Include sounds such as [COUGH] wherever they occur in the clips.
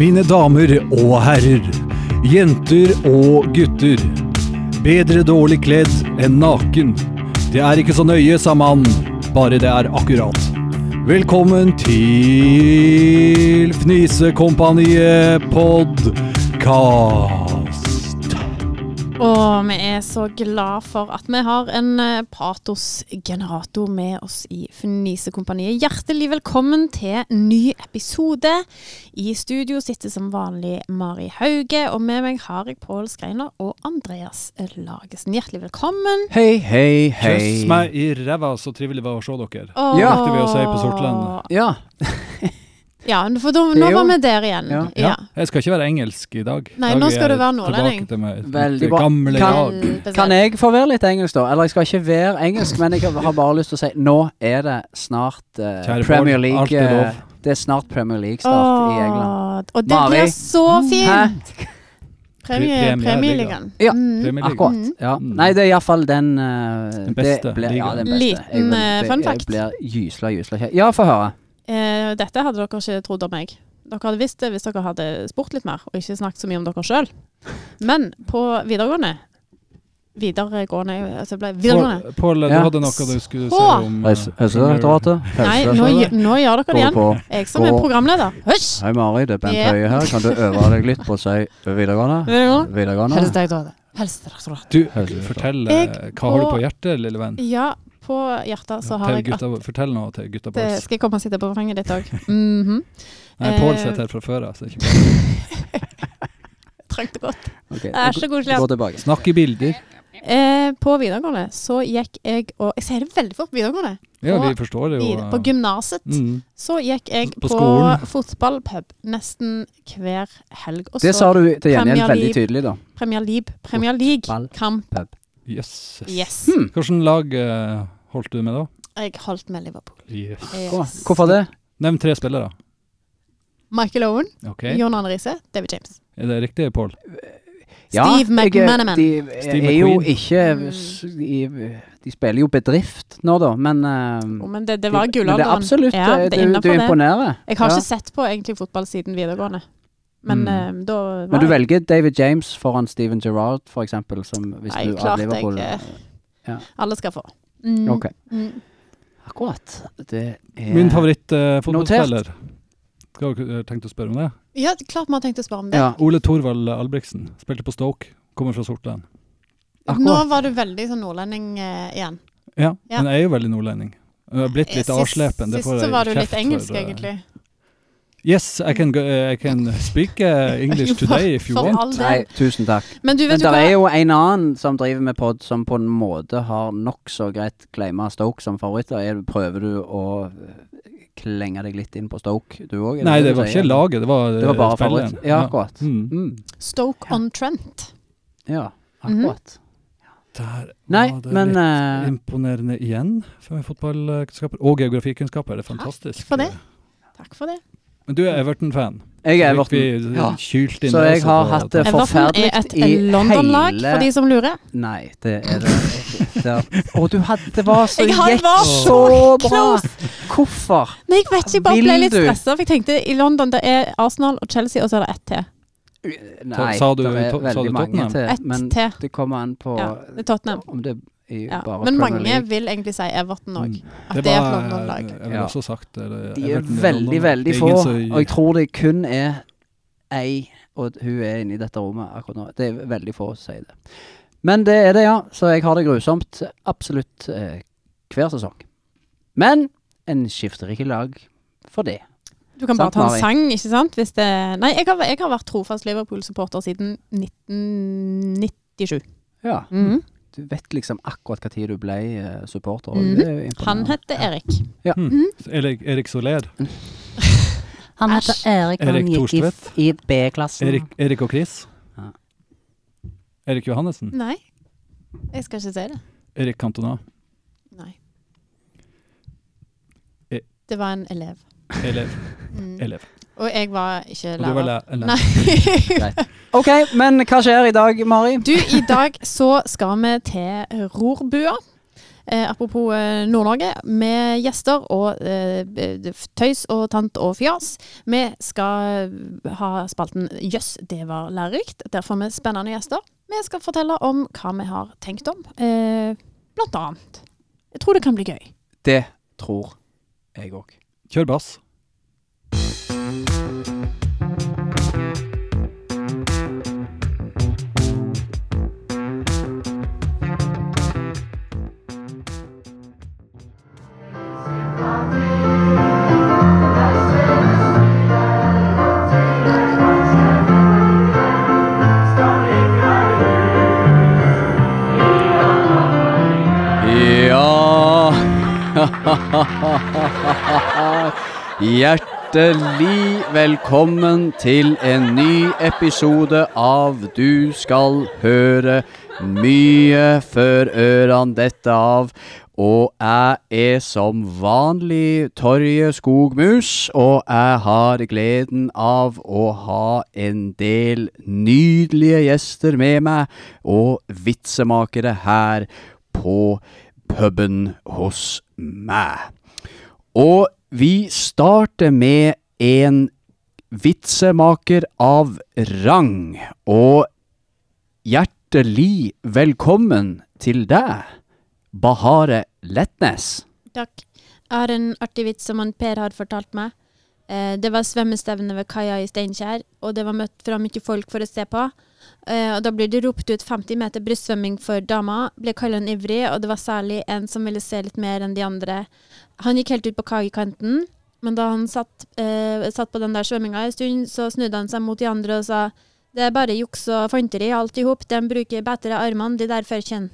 Mine damer og herrer, jenter og gutter. Bedre dårlig kledd enn naken. Det er ikke så nøye, sa man, bare det er akkurat. Velkommen til Fnisekompaniet podkast. Og vi er så glad for at vi har en eh, patosgenerator med oss i Fnisekompaniet. Hjertelig velkommen til ny episode. I studio sitter som vanlig Mari Hauge, og med meg har jeg Pål Skreiner og Andreas Lagesen. Hjertelig velkommen. Hei, hei, hei. Kjøss meg i ræva, så trivelig det var å se dere. Og- Ja. Likte vi å si på Sortland. Ja. Ja, for da, nå var Jo. vi der igjen. Ja. Ja. Jeg skal ikke være engelsk i dag. Nei, I dag nå skal er du være jeg nordlending. Tilbake til meg, Veldig det bra. gamle Kan- jag. Kan jeg få være litt engelsk, da? Eller jeg skal ikke være engelsk, men jeg har bare lyst til å si nå er det snart eh, Kjære Premier barn, alt League. er lov. eh, det er snart Premier League-start i England. Og det Mari. blir så fint! Hæ? Premie, Premieliga. Premieligaen. Ja. Mm. Premier League. Akkurat. Ja. Nei, det er iallfall den eh, Mm. Den beste det blir- Ja, ligaen. den beste. Jeg Liten, vil- eh, det- fun fact. Jeg blir gysla, gysla kjekk. Ja, få høre. Mm. Eh, dette hadde dere ikke trodd om meg. Dere hadde visst det hvis dere hadde spurt litt mer, og ikke snakket så mye om dere sjøl. Men på videregående Videregående altså ble, Videregående. Pål, Pål, du Ja. hadde noe du skulle si Åh! om eh, Helsedirektoratet. Nei, nå, gj- nå gjør dere det igjen. Jeg som er Gå. programleder. Hysj! Hei, Mari. Det er Bent Ja. Høie her. Kan du øve deg litt på å si videregående? Videregående. Videregående. Helsedirektoratet. Helsedirektoratet. Du, fortell eh, Jeg Hva har du på på- hjertet, lille venn? Ja, på hjertet så har Til jeg at gutta, fortell noe til gutta det boys. skal jeg komme og sitte på fanget ditt òg. [LAUGHS] Mhm. Nei, eh, Pål sitter her fra før av. så det er ikke bra. Trangt og godt. Okay, Det er så koselig. Gå tilbake. Snakk i bilder. Eh, på videregående så gikk jeg og Jeg sier det veldig fort på videregående. Ja, På vi forstår det jo. Vid- På eh, gymnaset. mm. Så gikk jeg På på, skolen. fotballpub nesten hver helg. Og Det sa så du til gjengjeld Premier veldig League. tydelig, da. Premier League. Premier League-kamp. Jøsses. Yes. Hvilket lag eh, holdt du med da? Jeg holdt med Liverpool. Yes. Kom, Yes. Hvorfor det? Nevn tre spillere. Michael Owen, Ok, John Arne Riise, David James. Er det riktig, Pål? Steve jeg- McManaman. De Steve er jo McQueen. Mm. ikke s- de, de spiller jo bedrift nå, da, men eh, Oh, men det, det var de- men gullalderen. det er absolutt Ja, eh, det er Du, du innenfor det. imponerer. Jeg har Ja. ikke sett på egentlig fotball siden videregående. Men Mm. eh, da var Men du jeg- velger David James foran Steven Gerrard, for eksempel, som hvis Nei, du klart av Liverpool jeg, eh, ja. Alle skal få. Mm, Ok. mm. Akkurat. Det er Min favorittfotballspiller. Skal dere tenkt å spørre om det? Ja, klart vi har tenkt å spørre om det. Ja, Ole Thorvald Albrigtsen. Spilte på Stoke. Kommer fra Sortland. Nå akkurat. var du veldig sånn nordlending eh, igjen. Ja, Ja. Eh, men jeg er jo veldig nordlending. Jeg har blitt litt Sist- avslepen. det Sist får så jeg var du kjeft litt for, engelsk, eh. egentlig. Yes, I can, go, eh, I can speak [LAUGHS] eh, English For- today if you for want. all del. Nei, tusen takk. Men du Men vet det jo hva er jo en annen som driver med pod som på en måte har nokså greit claima Stoke som favoritter. Er, prøver du å eh, klenge deg litt inn på Stoke, du òg? Nei, det var ikke laget, det var, eh, Det var bare spilleren. favoritt. Ja, akkurat. Mm. Mm. Stoke on Trent. Ja, Mhm. akkurat. Der Nei, var det men litt eh, imponerende igjen for meg fotballkunnskaper. Og geografikunnskaper. Det er fantastisk. for det. Takk for det. Men du er Everton-fan. eh, jeg er Så fikk Everton. vi Ja. kylt inn altså, Så det jeg også har på- hatt det- Everton er et forferdelig i London-lag, hele- for de som lurer. Nei, det er det. Der. Å, du hadde Det var så Jeg hadde- gikk var så så bra! Hvorfor? Nei, jeg vet ikke, jeg bare ble Vil litt du? stressa. For jeg tenkte i London det er Arsenal og Chelsea, og så er det ett til. Nei, sa du det er to- sa du veldig mange Tottenham? til. Ett Men til. det kommer an på Ja, det er Tottenham. om det er Ja. bare Men Premier mange League. vil egentlig si Everton òg. Mm. At det er et var, eh, London-lag. Jeg ville Ja. også sagt det. det- De er Everton veldig, London-lag. veldig Det er få, ingen som- og jeg tror det kun er ei, og hun er inne i dette rommet akkurat nå. Det er veldig få som sier det. Men det er det, ja. Så jeg har det grusomt absolutt eh, hver sesong. Men en skifter ikke lag for det. Du kan bare Sant, ta en Mari? sang, ikke sant? Hvis det Nei, jeg har, jeg har vært trofast Liverpool-supporter siden 1997. Ja. Mhm. Du vet liksom akkurat hva tid du ble eh, supporter. og Mhm. det er jo imponerende. Han heter Erik. Hmm. Erik, Erik Soler. Mm. [LAUGHS] Han Æsj. heter Erik, og Erik han gikk i, Thorstvedt. i B-klassen. Erik, Erik og Chris. Ja. Erik Mm. Johannessen. Nei, jeg skal ikke si det. Erik Cantona. Nei. E- Det var en elev. Elev. Mm. Elev. [LAUGHS] Og jeg var ikke Og du var lærer. læ- lærer. Nei. [LAUGHS] OK, men hva skjer i dag, Mari? Du, i dag så skal vi til rorbua. Eh, apropos eh, Nord-Norge, med gjester og eh, b- tøys og tant og fjas. Vi skal eh, ha spalten Jøss, det var lærerikt. Der får vi spennende gjester. Vi skal fortelle om hva vi har tenkt om, eh, blant annet. Jeg tror det kan bli gøy. Det tror jeg òg. Kjør bass. Ja Hjertelig velkommen til en ny episode av Du skal høre mye før ørene detter av. Og jeg er som vanlig Torje Skogmus, og jeg har gleden av å ha en del nydelige gjester med meg, og vitsemakere her på puben hos meg. Og vi starter med en vitsemaker av rang. Og hjertelig velkommen til deg, Bahare Letnes. Takk. Jeg har en artig vits som han Per har fortalt meg. Eh, det var svømmestevne ved kaia i Steinkjer, og det var møtt fra mye folk for å se på. Eh, og da blir det ropt ut 50 meter brystsvømming for dama, ble kallen ivrig, og det var særlig en som ville se litt mer enn de andre. Han gikk helt ut på kaiekanten, men da han satt, eh, satt på den der svømminga en stund, så snudde han seg mot de andre og sa det er bare juks og fanteri alt i hop, de bruker bedre armene, de der førkjenn.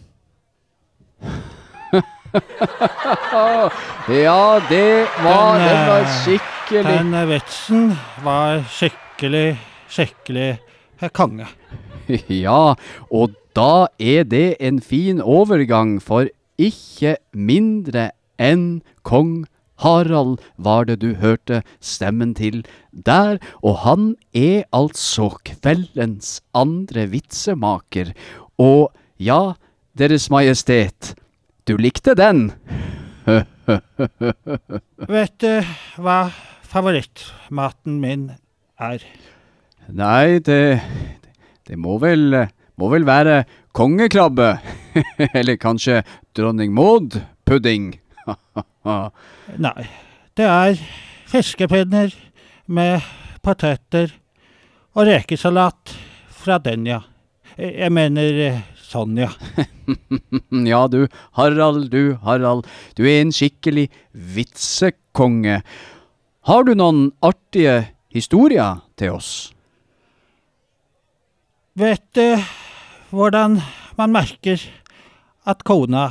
Ja, det var, Den, den var eh, skikkelig Den eh, vitsen var skikkelig, skikkelig eh, konge. [LAUGHS] Ja, og da er det en fin overgang, for ikke mindre enn kong Harald var det du hørte stemmen til der, og han er altså kveldens andre vitsemaker. Og ja, Deres Majestet, du likte den? Vet du hva favorittmaten min er? Nei, det, det må, vel, må vel være kongekrabbe. [LAUGHS] Eller kanskje dronning [LAUGHS] Maud-pudding. Nei, det er fiskepinner med poteter og rekesalat fra Denja. Eh, Jeg mener eh, Sonja. Mm, Ja, du Harald, du Harald. Du er en skikkelig vitsekonge. Har du noen artige historier til oss? Vet du hvordan man merker at kona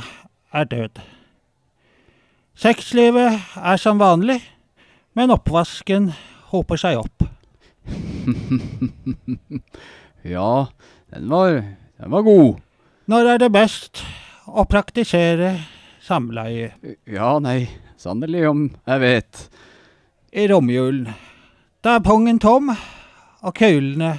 er død? Sexlivet er som vanlig, men oppvasken hoper seg opp. Ja, den var, den var god. Når er det best å praktisere samleie? Ja, nei, sannelig om jeg vet. I romjulen. Da er pungen tom, og køylene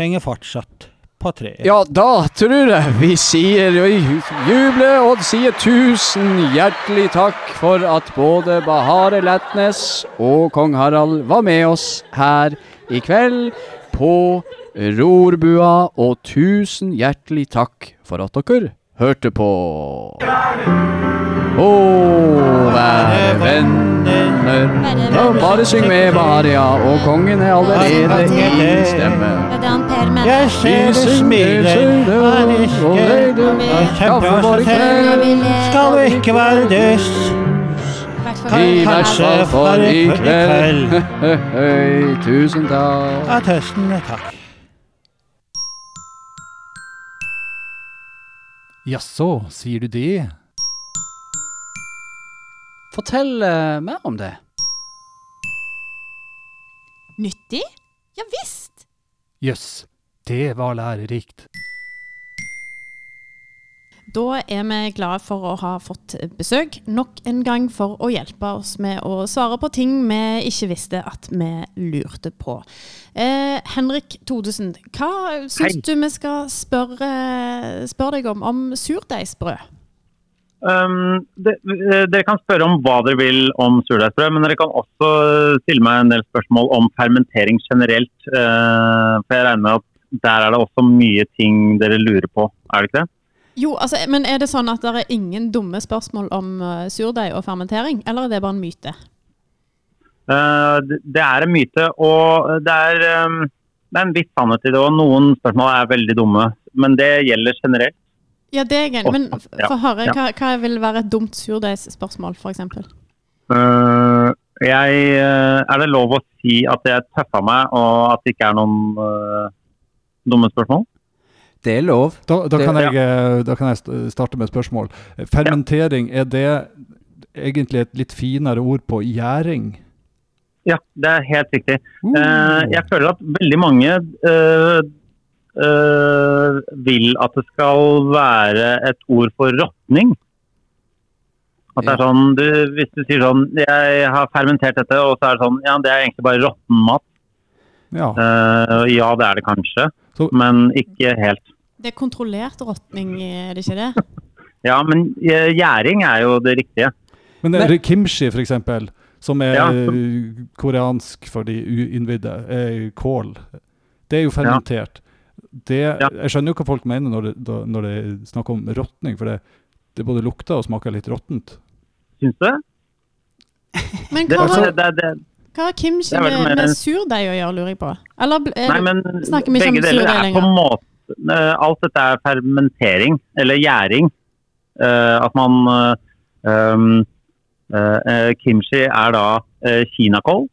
henger fortsatt på treet. Ja, da tror jeg vi sier vi jubler og sier tusen hjertelig takk for at både Bahare Letnes og kong Harald var med oss her i kveld på Rorbua, og tusen hjertelig takk for at dere hørte på. Å, være venner Ja, Bare syng med, Baharia, og kongen er allerede i stemme. Det er det han Per mener. Jeg ser du smiler, er ikke kjempebra som selv. Skal vi ikke være døs? hvert fall- I hvert Kanskje fall for i i kveld. kveld. Høy, tusen takk. Av testen, takk. Jaså, sier du det? Fortell eh, mer om det. Nyttig? Ja visst! Jøss, det var lærerikt. Da er vi glade for å ha fått besøk nok en gang for å hjelpe oss med å svare på ting vi ikke visste at vi lurte på. Eh, Henrik Todesen, hva syns du vi skal spørre, spørre deg om om surdeigsbrød? Um, det, eh, dere kan spørre om hva dere vil om surdeigsbrød, men dere kan også eh, stille meg en del spørsmål om fermentering generelt. eh, for jeg regner med at der er det også mye ting dere lurer på, er det ikke det? Jo, altså, men er det sånn at det er ingen dumme spørsmål om eh, surdeig og fermentering, eller er det bare en myte? Eh, det- det er en myte, og det er, um, det er en viss sannhet i det. Og noen spørsmål er veldig dumme, men det gjelder generelt. Ja, det er jeg enig i, men f- Ja, få høre. ja. Hva, hva vil være et dumt surdeigsspørsmål, f.eks.? Eh, jeg, eh, er det lov å si at jeg tøffa meg, og at det ikke er noen eh, dumme spørsmål? Det er lov. Da, da, Det- kan jeg, eh, da kan jeg st- starte med et spørsmål. Fermentering, er det egentlig et litt finere ord på gjæring? Ja, det er helt riktig. Eh, jeg føler at veldig mange eh, eh, vil at det skal være et ord for råtning. At det er sånn, du, Hvis du sier sånn 'Jeg har fermentert dette', og så er det sånn Ja, det er egentlig bare råtten mat. Ja. Eh, ja, det er det kanskje, Så- men ikke helt. Det er kontrollert råtning, eh, er det ikke det? Ja, men eh, gjæring er jo det riktige. Men er det kimchi, for eksempel, som er Ja. eh, koreansk for de uinnvidde, eh, kål, det er jo fermentert. Det, Ja. jeg skjønner jo hva folk mener når det, da- når det er snakk om råtning, for det, det både lukter og smaker litt råttent. Syns du det? Men Det, hva har, det, det, det, hva har kimchi det er vel med, mer med en- surdeig å gjøre, lurer jeg på? Eller bl- er Nei, det- men snakker vi ikke om begge deler surdeig er på en måte eh, Alt dette er fermentering, eller gjæring. Eh, at man eh, um, eh, eh, Kimchi er da uh, kinakål,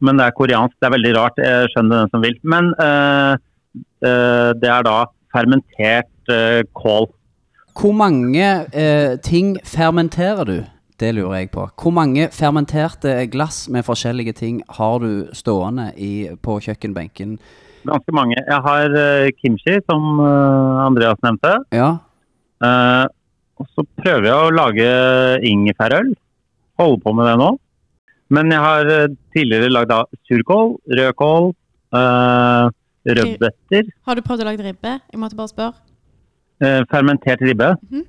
men det er koreansk. Det er veldig rart. Jeg skjønner den som vil. Men eh, eh, det er da fermentert eh, kål. Hvor mange eh, ting fermenterer du? Det lurer jeg på. Hvor mange fermenterte glass med forskjellige ting har du stående i, på kjøkkenbenken? Ganske mange. Jeg har eh, kimchi, som eh, Andreas nevnte. Ja, Eh, og så prøver jeg å lage ingefærøl. Holder på med det nå. Men jeg har eh, tidligere lagd av surkål, rødkål, eh, rødbeter, har du prøvd å lage ribbe? Jeg måtte bare spørre. eh, fermentert ribbe. Mhm.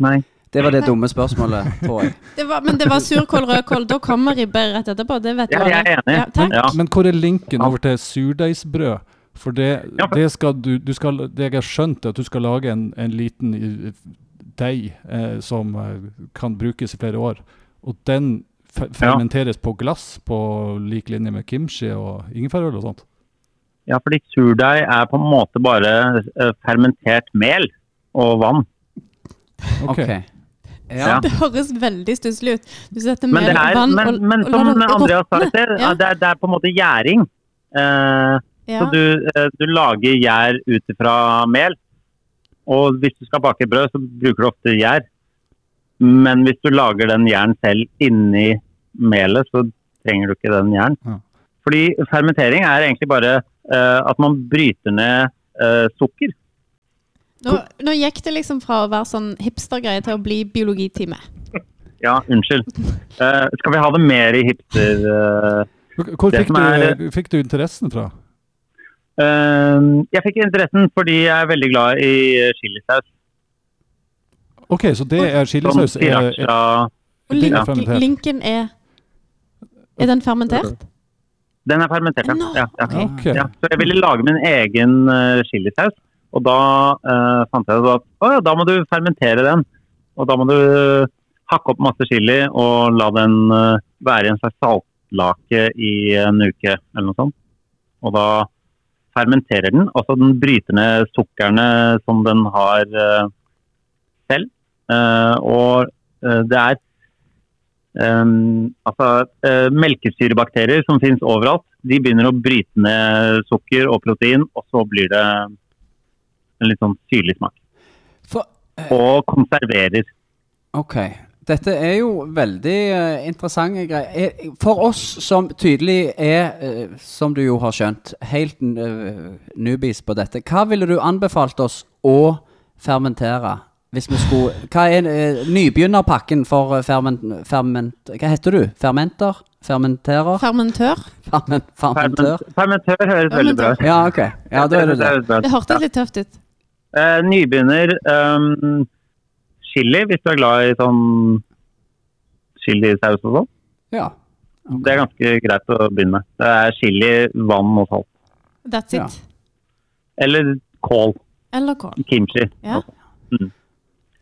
Nei. det var det dumme spørsmålet, tror [LAUGHS] jeg. Det var, men det var surkål, rødkål. Da kommer ribbe rett etterpå. Det vet du Ja, jeg er enig. Ja, takk. Ja. Men hvor er linken over til surdeigsbrød? For det, Ja, for- det skal du, du skal, det jeg har skjønt, er at du skal lage en, en liten eh, deig eh, som eh, kan brukes i flere år. Og den fe- fermenteres på glass på lik linje med kimchi og ingefærøl og sånt. ja, fordi surdeig er på en måte bare eh, fermentert mel og vann. Ok. Ok. Ja. Det høres veldig stusslig ut. Du setter Men, mel det og er, vann men, og, men og lar som det Andreas sa i råtne. sted, Ja. det, er- det er på en måte gjæring. Eh, Ja. Så du, eh, du lager gjær ut fra mel. Og hvis du skal bake brød, så bruker du ofte gjær. Men hvis du lager den gjæren selv inni melet, så trenger du ikke den gjæren. Ja. Fordi fermentering er egentlig bare eh, at man bryter ned eh, sukker. Nå, nå gikk det liksom fra å være sånn hipstergreie til å bli biologitime. Ja, unnskyld. Eh, skal vi ha det mer i hipster... eh, Hvor Det fikk som er- du, fikk du interessen fra? eh, jeg fikk interessen fordi jeg er veldig glad i eh, chilisaus. OK, så det er eh, Som chilisaus. Er, er, sriracha. Og Det er link, fermentert. linken er Er den fermentert? Den er fermentert, ja. Nå, ja, ja. ok. Ja, så jeg ville lage min egen eh, chilisaus, og da eh, fant jeg ut at å ja, da må du fermentere den. Og da må du hakke opp masse chili og la den eh, være i en slags saltlake i en uke eller noe sånt. Og da fermenterer den, altså den bryter ned sukkerne som den har eh, selv. Eh, og eh, det er Ehm, altså, eh, melkesyrebakterier som finnes overalt, de begynner å bryte ned sukker og protein, og så blir det en litt sånn syrlig smak. For, Og konserverer. Ok. Dette er jo veldig eh, interessante greier. Eh, For oss som tydelig er, eh, som du jo har skjønt, helt uh, newbies på dette, hva ville du anbefalt oss å fermentere? Hvis vi skulle Hva er eh, nybegynnerpakken for eh, ferment, ferment... Hva heter du? Fermenter? Fermenterer? Fermentør? Ferment, fermentør? Ferment, fermentør høres veldig bra ut. Ja, ok. Ja, da er det det. høres bra ut. Det hørtes litt tøft ut. Eh, nybegynner ehm, chili, hvis du er glad i sånn chilisaus og sånn. Ja. Det er ganske greit å begynne med. Det er chili, vann og salt. That's Ja. it. Eller kål. Eller kål. Kimchi. Ja.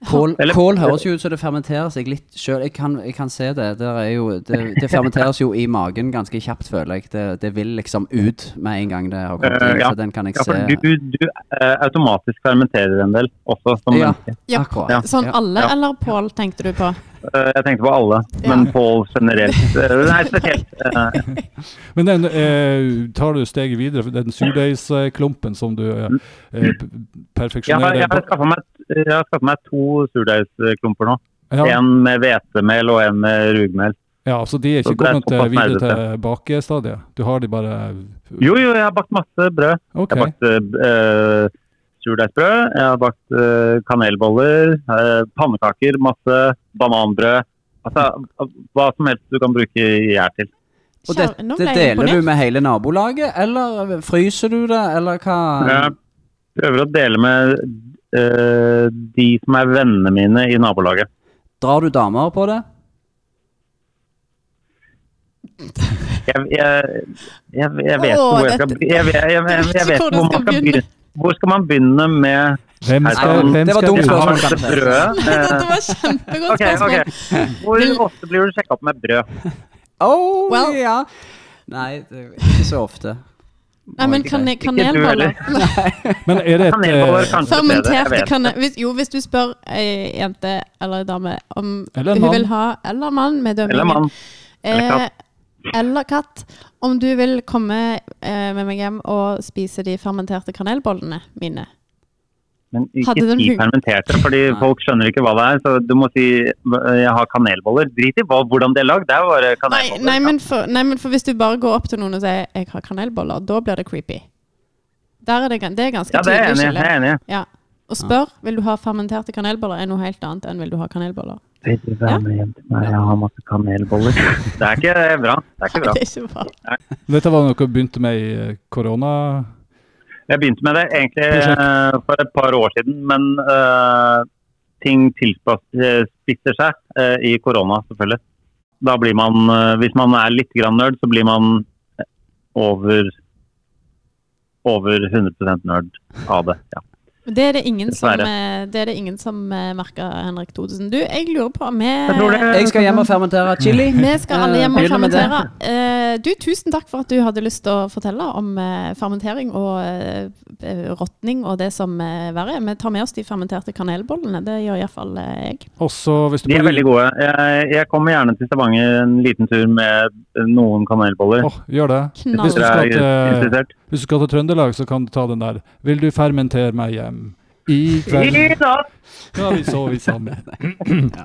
Kål, Eller- kål høres jo ut som det fermenterer seg litt sjøl. Jeg, kan- jeg kan se det. Det, er jo, det. det fermenteres jo i magen ganske kjapt, føler jeg. Det, det vil liksom ut med en gang det har kommet Eh, inn. ja. Så den kan jeg Ja, for se. du, du eh, automatisk fermenterer en del også som Ja. menneske. Ja. Akkurat. Ja. Sånn Ja. alle Ja. eller Pål, tenkte du på? Eh, jeg tenkte på alle, Ja. men Pål generelt. Eh, nei, spesielt. eh, Men den, eh, tar du steget videre, for den surdeigsklumpen som du eh, eh, p- jeg har, perfeksjonerer Mm. jeg har på- skaffa meg, jeg har skaffet meg to surdeigsklumper nå. ja, En med hvetemel og en med rugmel. ja, så de er Så ikke det er kommet eh, såpass videre nerdete. til bakestadiet? Du har de bare Jo, jo, jeg har bakt masse brød. OK. Jeg har bakt eh, surdeigsbrød, jeg har bakt eh, kanelboller, eh, pannekaker, masse bananbrød. Altså, hva som helst du kan bruke gjær til. Og det, Kjære- nå ble jeg det deler du imponert. [LAUGHS] med hele nabolaget, eller fryser du det, eller hva? Jeg prøver å dele med eh, de som er vennene mine i nabolaget. Drar du damer på det? Jeg, jeg, jeg, jeg vet ikke Åh, hvor jeg skal dette- jeg, jeg, jeg, jeg, jeg vet ikke hvor man skal begynne. Hvor skal man begynne med Hvem Nei, skal, det hvem var skal de dumt Jeg spørsmål. ha? har det [LAUGHS] brødet? Dette Eh, var et kjempegodt Ok, spørsmål. ok. Hvor ofte blir du sjekka opp med brød? Oh, Well. ja. Nei, det er ikke så ofte. Nei, men kan, Ikke du heller. kanelboller [LAUGHS] Men er det et Kanelboller eh, kanskje bedre, jeg Fermenterte vet. kanel... Hvis, jo, hvis du spør ei jente eller ei dame om Eller en hun mann. vil ha Eller mann med dømmingen. Eller mann. Eh, eller eller katt. Om du vil komme eh, med meg hjem og spise de fermenterte kanelbollene mine. Men Hadde ikke de si hund- fermenterte, fordi folk skjønner ikke hva det er. Så du må si eh, 'jeg har kanelboller'. Drit i hva, hvordan de er lagd, det er bare Nei, kanelboller. nei, men for, nei, men for hvis du bare går opp til noen og sier 'jeg har kanelboller', da blir det creepy. Der er det, gan- det er ganske ja, det er jeg tydelig enig i. skille. Jeg er enig. i. Ja. Og spør vil du ha fermenterte kanelboller, er noe helt annet enn vil du ha kanelboller. Vil du være med hjem til meg? Jeg har masse kanelboller. [LAUGHS] Det er ikke bra. Det er ikke bra. [LAUGHS] Det er ikke bra. Dette var noe du begynte med i eh, korona... Jeg begynte med det egentlig eh, for et par år siden, men eh, ting tilspisser seg eh, i korona, selvfølgelig. Da blir man, eh, hvis man er litt grann nerd, så blir man over, over 100 nerd av det. Ja. Men Det er det ingen som, Dessverre. eh, det er det ingen som eh, merker, Henrik Thodesen. Du, jeg lurer på om Jeg tror vi det- Jeg skal hjem og fermentere [LAUGHS] chili. vi skal alle hjem og Begynner med det. fermentere. Eh, Du, tusen takk for at du hadde lyst til å fortelle om eh, fermentering og eh, råtning og det som eh, verre er. Vi tar med oss de fermenterte kanelbollene. Det gjør iallfall eh, jeg. Også hvis du De er bare- veldig gode. Jeg, jeg kommer gjerne til Stavanger en liten tur med noen kanelboller. Åh, gjør det. Hvis Knall. du Dere skal er til, interessert. hvis du skal til Trøndelag, så kan du ta den der. Vil du fermentere meg hjem? I I kveld dag! skal vi sove sammen.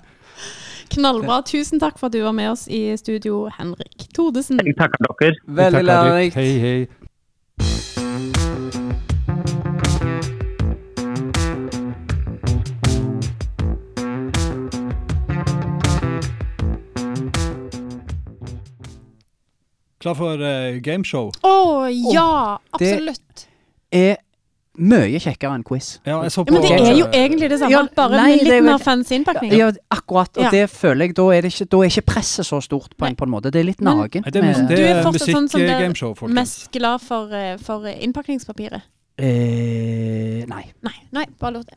Knallbra. Tusen takk for at du var med oss i studio, Henrik Thodesen. Jeg takker dere. Veldig Vi takker deg. lærerikt. Hei, hei. Klar for eh, gameshow? Å ja, det- absolutt. Er mye kjekkere enn quiz. Ja, jeg Ja, så på men det er jo egentlig det Ja, samme, bare nei, med det er litt jo- mer fancy innpakning. Ja, akkurat. Og Ja. det føler jeg, da er, det ikke, da er ikke presset så stort på en, på en måte. Det er litt Men- nagent. Nei, det er, mus- med- det Du er er fortsatt sånn eh, som det er musikk-gameshow, folkens. Mest glad for, eh, for eh, innpakningspapiret? eh, nei. Nei, nei, bare lurte.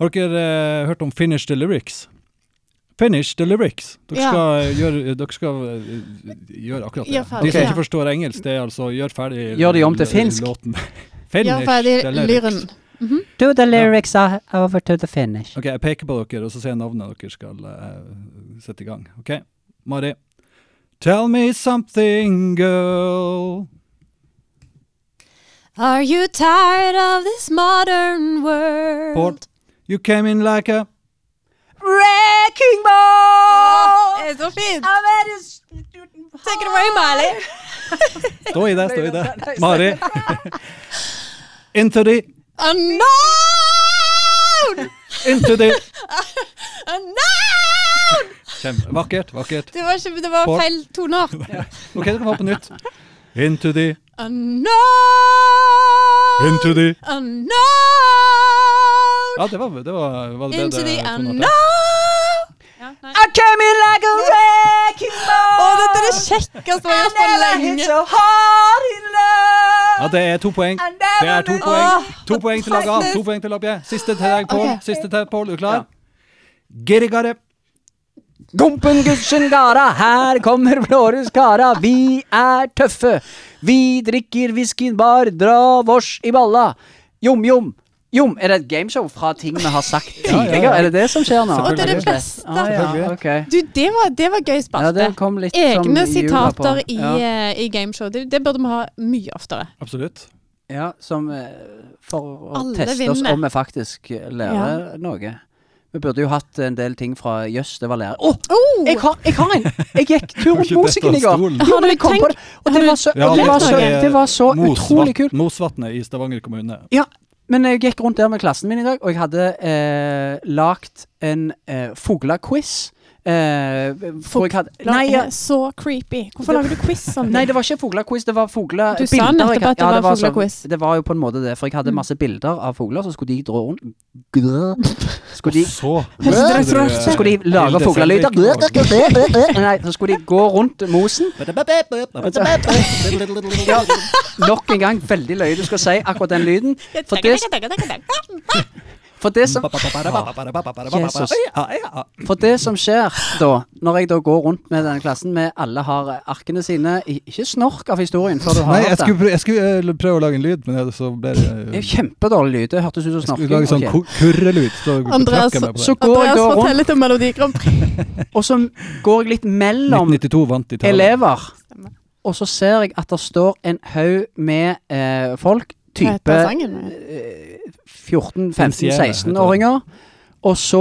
Har dere eh, hørt om Finish the Lyrics? Finish the lyrics. Dere Ja. skal, gjøre, dere skal eh, gjøre akkurat det. Gjør ferdig, De som ja. ikke forstår engelsk, det er altså gjør ferdig Gjør de om til l- [LAUGHS] finsk? Låten. Ja, Finish for det the er lyrics. lyren. Do the lyrics are over to the finish. Ok, jeg peker på dere, og så sier jeg navnet dere skal eh, sette i gang. Ok, Mari. Tell me something, girl. Are you tired of this modern world? Pål. You came in like a Wrecking ball! Det er så fint! I'm at a s- Take it away, Miley. Stå i det, stå i [LAUGHS] det. Mari. [LAUGHS] Into the A noun! Into the A noun! Kjempe. Vakkert, vakkert. Det var, ikke, det var Pål. feil [LAUGHS] toner. Ok, dere må på [LAUGHS] nytt. Into the A noun! Into the A noun! Ja, det var det, var, var det Into bedre the tonen at unknown. jeg- Ja, nei. I came in like a wrecking Å, ball. dette er det kjekkeste vi har gjort på And I hit lenge. so hard in love. Ja, det er to poeng. And Det er to never poeng. Åh, To poeng til lag A, to poeng til lag B. Siste til deg, Pål. Ok. Siste til deg, Pål. Er du klar? Gerigare. Gompen Gushengara, her kommer Blårus Kara. Vi er tøffe. Vi drikker whiskyen bar, dra vårs i balla. Jom, jom. Jom, Er det et gameshow fra ting vi har sagt tidligere? Er det det som skjer nå? Og det er det Rett og slett. beste. Ah, ja, ok. Du, det var, det var gøy ja, spalte. det sånn kom litt som Egne jula på. sitater i, ja. eh, i gameshow. Det, det burde vi ha mye oftere. Absolutt. Ja, som eh, for å Alle teste oss vinner. om vi faktisk eh, lærer noe. Vi burde jo hatt en del ting fra Jøss, det var lærer. Å, Oh! jeg, har, jeg har en! Jeg [LAUGHS] gikk tur rundt Ikke Mosingen i dette går. stolen. Jo, Har men du jeg kom tenkt- på det. Og det har var du- så, Ja, og det det var er så, det. det var så utrolig kult. Mosvatnet i Stavanger kommune. Ja, men jeg gikk rundt der med klassen min i dag, og jeg hadde eh, lagt en eh, fuglequiz. Eh, hvor jeg hadde, nei, Nei, ja, så creepy. Hvorfor lager du quiz sånn? Nei, det var ikke fuglequiz, det var fugle... Du sa bilder nettopp jeg had- at det var sånn- fuglequiz. Mm. det var jo på en måte det, for jeg hadde masse bilder av fugler, så skulle de dra rundt Grrr. Skulle de, Så så skulle de lage Hilde fuglelyder Sandvik. Grrr. Nei, så skulle de gå rundt mosen. Ja, nok en gang veldig løye du skal si akkurat den lyden. For det, for det som Jesus. For det som skjer da, når jeg da går rundt med denne klassen, med alle har eh, arkene sine i- Ikke snork av historien før du har Nei, jeg hørt skulle, den. prøve, jeg skulle eh, prøve å lage en lyd, men jeg- så [LAUGHS] ble Det er det jo kjempedårlig lyd. Det hørtes ut som Skulle snorking. lage sånn Ok. ku- kurrelyd. Så Andreas, trakk jeg meg på Så det. går jeg Andreas da rundt, fortell litt om Melodi Grand Prix. og så går jeg litt mellom 1992 vant Italia. elever, Stemmer. og så ser jeg at det står en haug med eh, folk, Hva type heter sangen? 14-15-16-åringer, og så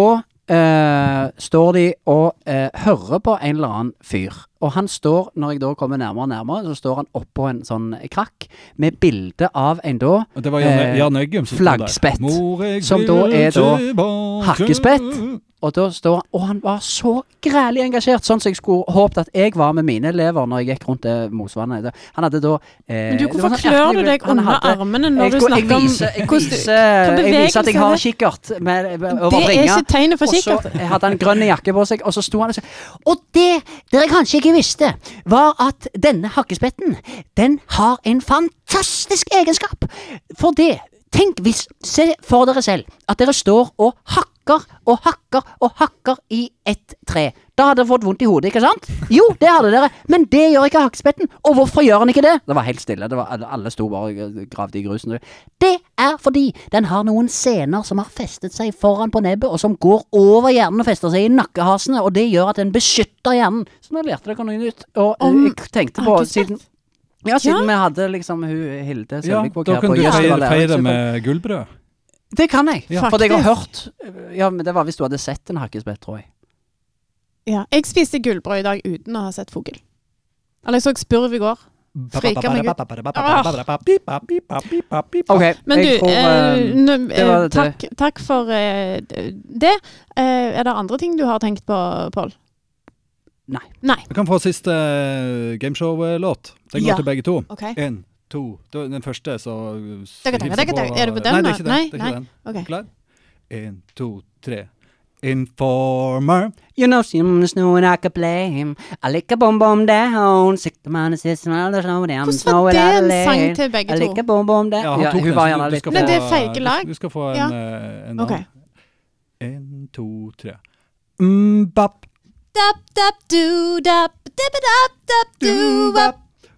eh, står de og eh, hører på en eller annen fyr. Og han står, når jeg da kommer nærmere og nærmere, så står han oppå en sånn krakk med bilde av en da Og Det var Jan, eh, Jan Eggum som sto flaggspett, der. Mor, jeg som da vil er da tilbake. hakkespett. Og da står han, og han var så grælig engasjert, sånn som jeg skulle håpet at jeg var med mine elever når jeg gikk rundt eh, det mosvannet. Han hadde da eh, Men du, det var hvorfor sånn klør du ertelig- deg han under hadde- armene Jeg når du går- jeg snakker om viser- jeg hvordan du- viser- hva Jeg viser at jeg har bevegelser kikkert med, det over er? Det er ringa. ikke tegnet for kikkert. Og så hadde han grønn jakke på seg, og så sto han og sa Og det dere kanskje ikke visste, var at denne hakkespetten, den har en fantastisk egenskap. For det Tenk hvis Se for dere selv at dere står og hakker og hakker og hakker i et tre. Da hadde dere fått vondt i hodet, ikke sant? Jo, det hadde dere, men det gjør ikke hakkespetten. Og hvorfor gjør han ikke det? Det var helt stille, det var, alle- alle sto bare og gravde i grusen. Det er fordi den har noen sener som har festet seg foran på nebbet, og som går over hjernen og fester seg i nakkehasene, og det gjør at den beskytter hjernen. Så nå lærte dere noe nytt. Og eh, Om- jeg tenkte Har på du sett? siden ja, siden vi hadde liksom hun Hilde Ja, Selvik da kunne du feire, feire med gullbrød. Det kan jeg, Ja. for jeg har hørt Faktisk. Ja, men det var hvis du hadde sett en hakkespett, tror jeg. Ja, jeg spiste gullbrød i dag uten å ha sett fugl. Eller jeg så spurv i går. Frika meg ut. Ok, Men du, jeg tror eh, eh, nå- det eh, var det. takk, takk for eh, det. Eh, er det andre ting du har tenkt på, Pål? Nei. Nei. Vi kan få siste eh, gameshow-låt. Den går Ja. til begge to. Ok. Én, to Da- Den første, så Takk, takk, takk, takk. Er det på den, Nei, det da? er ikke den. Nei, det er nei. ikke den. ok. Klar? Én, to, tre. Informer. You know, seems no one I could play him. I lick a bomb bomb down. Sick the man is this man is no damn. Hvordan var det en sang til begge to? I lick a bomb bomb down. Ja, han Ja, tok hun den, var så gjerne du- du litt skal Men få- det er feilgelag. Du skal få en, Ja. eh, en Ok. annen. En, to, tre. Mm, Mbapp. Dap, dap, du, dap, dap, dap, dap, du, bap.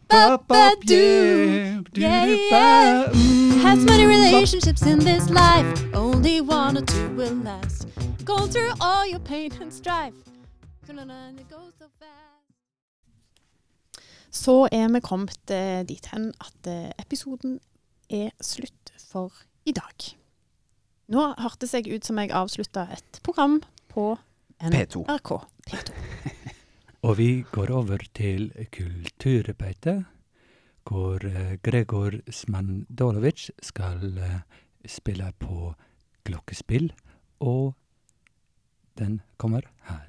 Bapp, bapp, do. yeah. Du, Yeah, ba, mm, Has many bapp. relationships in this life. Only one or two will last. Go through all your pain and strife. Så er vi kommet eh, dit hen at eh, episoden er slutt for i dag. Nå hørtes jeg ut som jeg avslutta et program på P2. NRK P2. Og vi går over til kulturarbeidet, hvor eh, Gregor Smandolovic skal eh, spille på klokkespill, og den kommer her.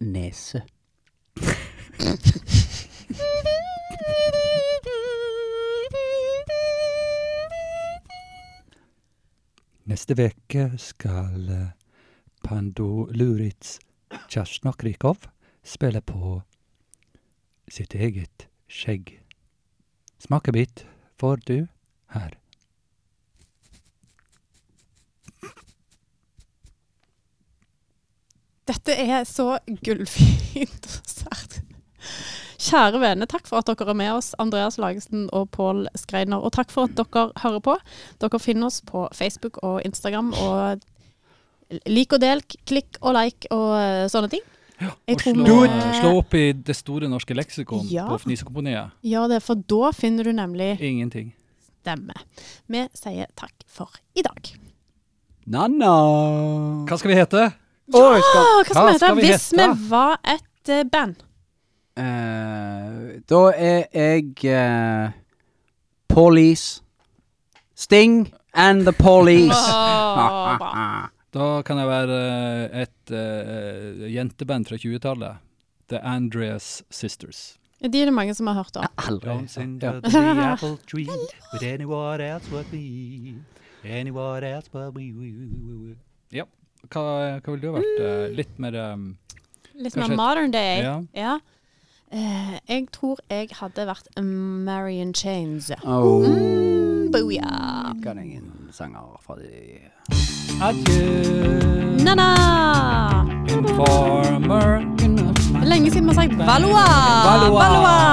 Nese. Nese. Neste veke skal eh, Pando Luritz Kjersnak Rikov spille på sitt eget skjegg. Smakebit får du her. Dette er så gullfint og sært. Kjære venner, takk for at dere er med oss, Andreas Lagesen og Pål Skreiner. Og takk for at dere hører på. Dere finner oss på Facebook og Instagram. Og lik og del, klikk og like og eh, sånne ting. Jeg Og tror slå, vi- eh, slå opp i Det store norske leksikon Ja. på Fnisekomponiet. Gjør det, for da finner du nemlig Ingenting. stemme. Vi sier takk for i dag. Nanna! Hva skal vi hete? Ja, hva skal vi hete skal vi hvis vi hete? var et eh, band? Eh, da er jeg eh, Police. Sting and [LAUGHS] the Police. Åh, bra. Da kan jeg være eh, et eh, jenteband fra 20-tallet. The Andreas Sisters. De er det mange som har hørt om. Aldri. under the apple tree with anyone else but me. Anyone else but me. Hva, hva ville du ha vært? eh, litt mer um, Litt Kanskje mer et- modern day. Ja. Ja. Eh, jeg tror jeg hadde vært Marion Chains. Mm, Oh, Booyah! kan ingen sanger fra de Adjø, Na-na! informer. Lenge siden vi har sagt Valois! Valois! Valois!